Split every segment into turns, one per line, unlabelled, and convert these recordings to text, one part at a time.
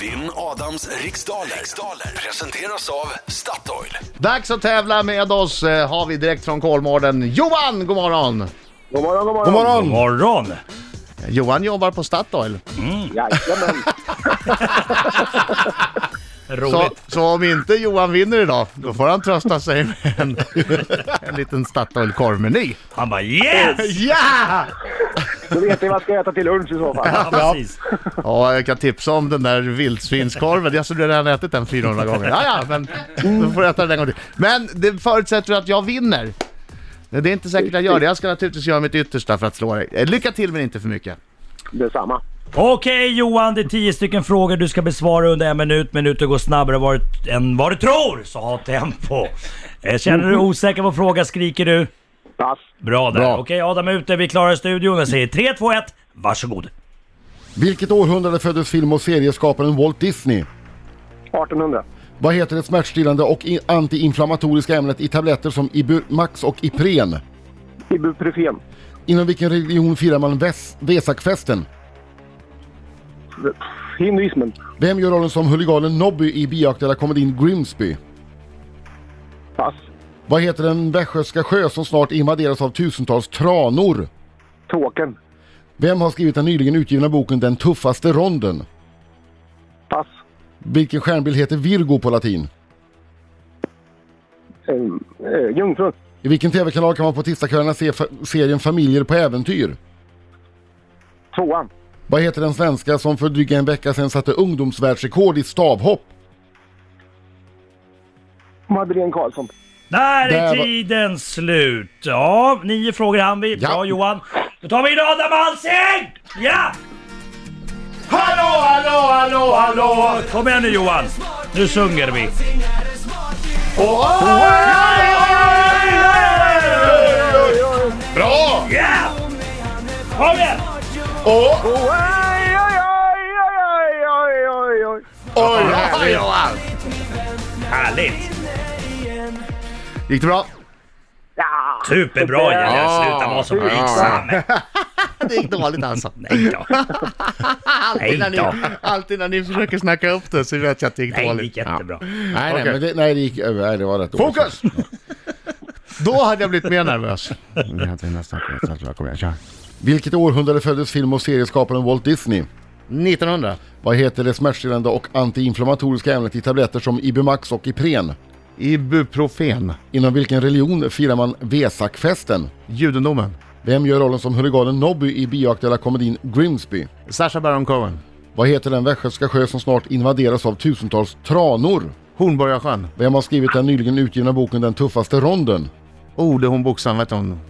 Vinn Adams riksdaler. riksdaler presenteras av Statoil.
Dags att tävla med oss eh, har vi direkt från Kolmården. Johan, god morgon!
God morgon, god morgon.
God morgon!
Morgon!
Johan jobbar på Statoil.
Jajamän.
Så,
Roligt.
så om inte Johan vinner idag, då får han trösta sig med en, en liten Statoil-korvmeny.
Han bara yes!
Ja!
Då vet ni vad jag ska äta till lunch i så fall.
Ja, precis.
Ja, jag kan tipsa om den där vildsvinskorven. Jag skulle redan ätit den 400 gånger. Ja, ja, men då får jag äta den en gång till. Men det förutsätter att jag vinner. Det är inte säkert jag gör det. Jag ska naturligtvis göra mitt yttersta för att slå dig. Eh, Lycka till men inte för mycket.
Detsamma.
Okej Johan, det är tio stycken frågor du ska besvara under en minut. Minuter går snabbare var, än vad du tror, så ha tempo. Eh, Känner du dig osäker på fråga skriker du.
Pass.
Bra där.
Bra.
Okej Adam är ute, vi klarar studion. Jag säger 3, 2, 1, varsågod.
Vilket århundrade föddes film och serieskaparen Walt Disney?
1800.
Vad heter det smärtstillande och i- antiinflammatoriska ämnet i tabletter som Ibumax och Ipren?
Ibuprofen.
Inom vilken religion firar man Ves- Vesakfesten?
Hinduismen.
Vem gör rollen som huliganen Nobby i bioaktuella komedin Grimsby?
Pass.
Vad heter den västgötska sjö som snart invaderas av tusentals tranor?
Tåken.
Vem har skrivit den nyligen utgivna boken Den tuffaste ronden?
Pass.
Vilken stjärnbild heter Virgo på latin?
Um, uh, Jungfrun.
I vilken TV-kanal kan man på tisdagskvällarna se fa- serien Familjer på äventyr?
Tvåan.
Vad heter den svenska som för drygt en vecka sedan satte ungdomsvärldsrekord i stavhopp?
Madeleine Karlsson.
Där
Där
är
var-
tiden slut. Ja, nio frågor hann vi. Bra
Ja.
Johan. Då tar vi in Adam Alsing! Ja!
Hallå, hallå, hallå, hallå!
Kom igen nu Johan. Nu sjunger vi.
Bra!
Ja! Kom igen!
Åh,
Oj, oj, oj, oj, oj, oj, oj.
oj, härligt.
Härligt!
Gick det bra?
Ja.
Superbra Jenny! Sluta vara så blygsam!
Det gick dåligt alltså.
Nej då.
Alltid när,
Nej
ni,
då.
alltid när ni försöker snacka upp det så vet jag att det gick
Nej, det
dåligt.
gick jättebra.
Nej,
Okej.
nej, men det, nej, det gick över. Nej, det var rätt dåligt.
Fokus! Då hade jag blivit mer nervös. Kom igen, kör.
Vilket århundrade föddes film och serieskaparen Walt Disney?
1900.
Vad heter det smärtstillande och antiinflammatoriska ämnet i tabletter som Ibumax och Ipren?
Ibuprofen.
Inom vilken religion firar man Vesakfesten?
Judendomen.
Vem gör rollen som huliganen Nobby i bioaktuella komedin Grimsby?
Sasha Baron Cohen.
Vad heter den västgötska sjö som snart invaderas av tusentals tranor?
Hornborgasjön.
Vem har skrivit den nyligen utgivna boken Den tuffaste ronden?
Oh, det är hon boxaren, vet du hon?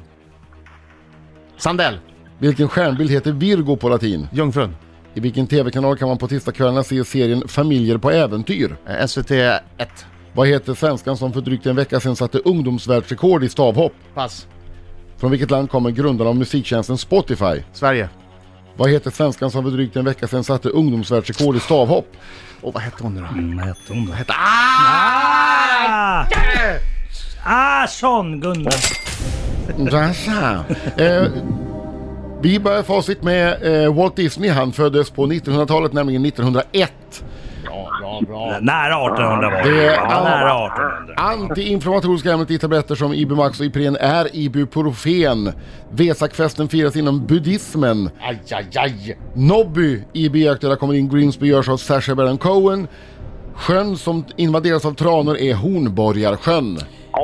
Sandell.
Vilken stjärnbild heter Virgo på latin?
Jungfrun.
I vilken tv-kanal kan man på tisdagskvällarna se serien Familjer på äventyr?
Eh, SVT 1.
Vad heter svenskan som för drygt en vecka sedan satte ungdomsvärldsrekord i stavhopp?
Pass.
Från vilket land kommer grundaren av musiktjänsten Spotify?
Sverige.
Vad heter svenskan som för drygt en vecka sedan satte ungdomsvärldsrekord i stavhopp?
Och vad hette hon nu då?
Vad hette hon då?
Hette... Ah!
Ah! Ah, sån Gunnar.
Rasa. eh, vi börjar facit med eh, Walt Disney. Han föddes på 1900-talet, nämligen 1901.
Nära 1800 var
Det
det.
är-
Ja, Nära 1800.
Antiinflammatoriska ämnet i tabletter som Ibumax och Ipren är Ibuprofen. Vesakfesten firas inom buddhismen. Aj, Nobby i bioaktuella kommer in Grimsby görs av Sacha Baron Cohen. Sjön som invaderas av tranor är Hornborgarsjön.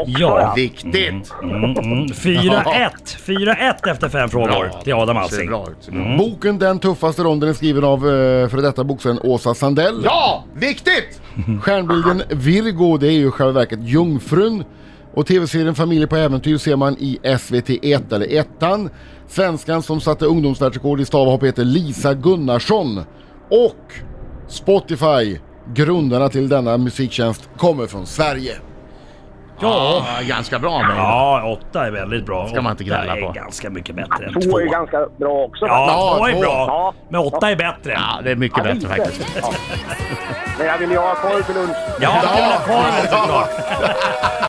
Ja.
Viktigt!
Mm, mm. 4-1. 4-1 efter fem frågor till Adam
Ser
Alsing.
bra ut. ser bra ut.
Boken Den tuffaste ronden är skriven av eh, före detta boxaren Åsa Sandell.
Ja! Viktigt!
Mhm. Stjärnbilden Virgo, det är ju i själva verket Jungfrun. Och tv-serien Familjer på äventyr ser man i SVT 1 eller 1an. Svenskan som satte ungdomsvärldsrekord i stavhopp heter Lisa Gunnarsson. Och Spotify, grundarna till denna musiktjänst, kommer från Sverige.
Ja, ganska bra men.
Ja, åtta är väldigt bra.
Ska man inte
Åtta
gnälla på.
är ganska mycket bättre än
Två
två.
är ganska bra också.
Ja,
Ja,
två är
två.
bra.
Ja.
Men åtta är bättre.
Ja, det är mycket bättre faktiskt.
Ja. Men jag vill ju ha korv till lunch.
Ja, det var korven såklart.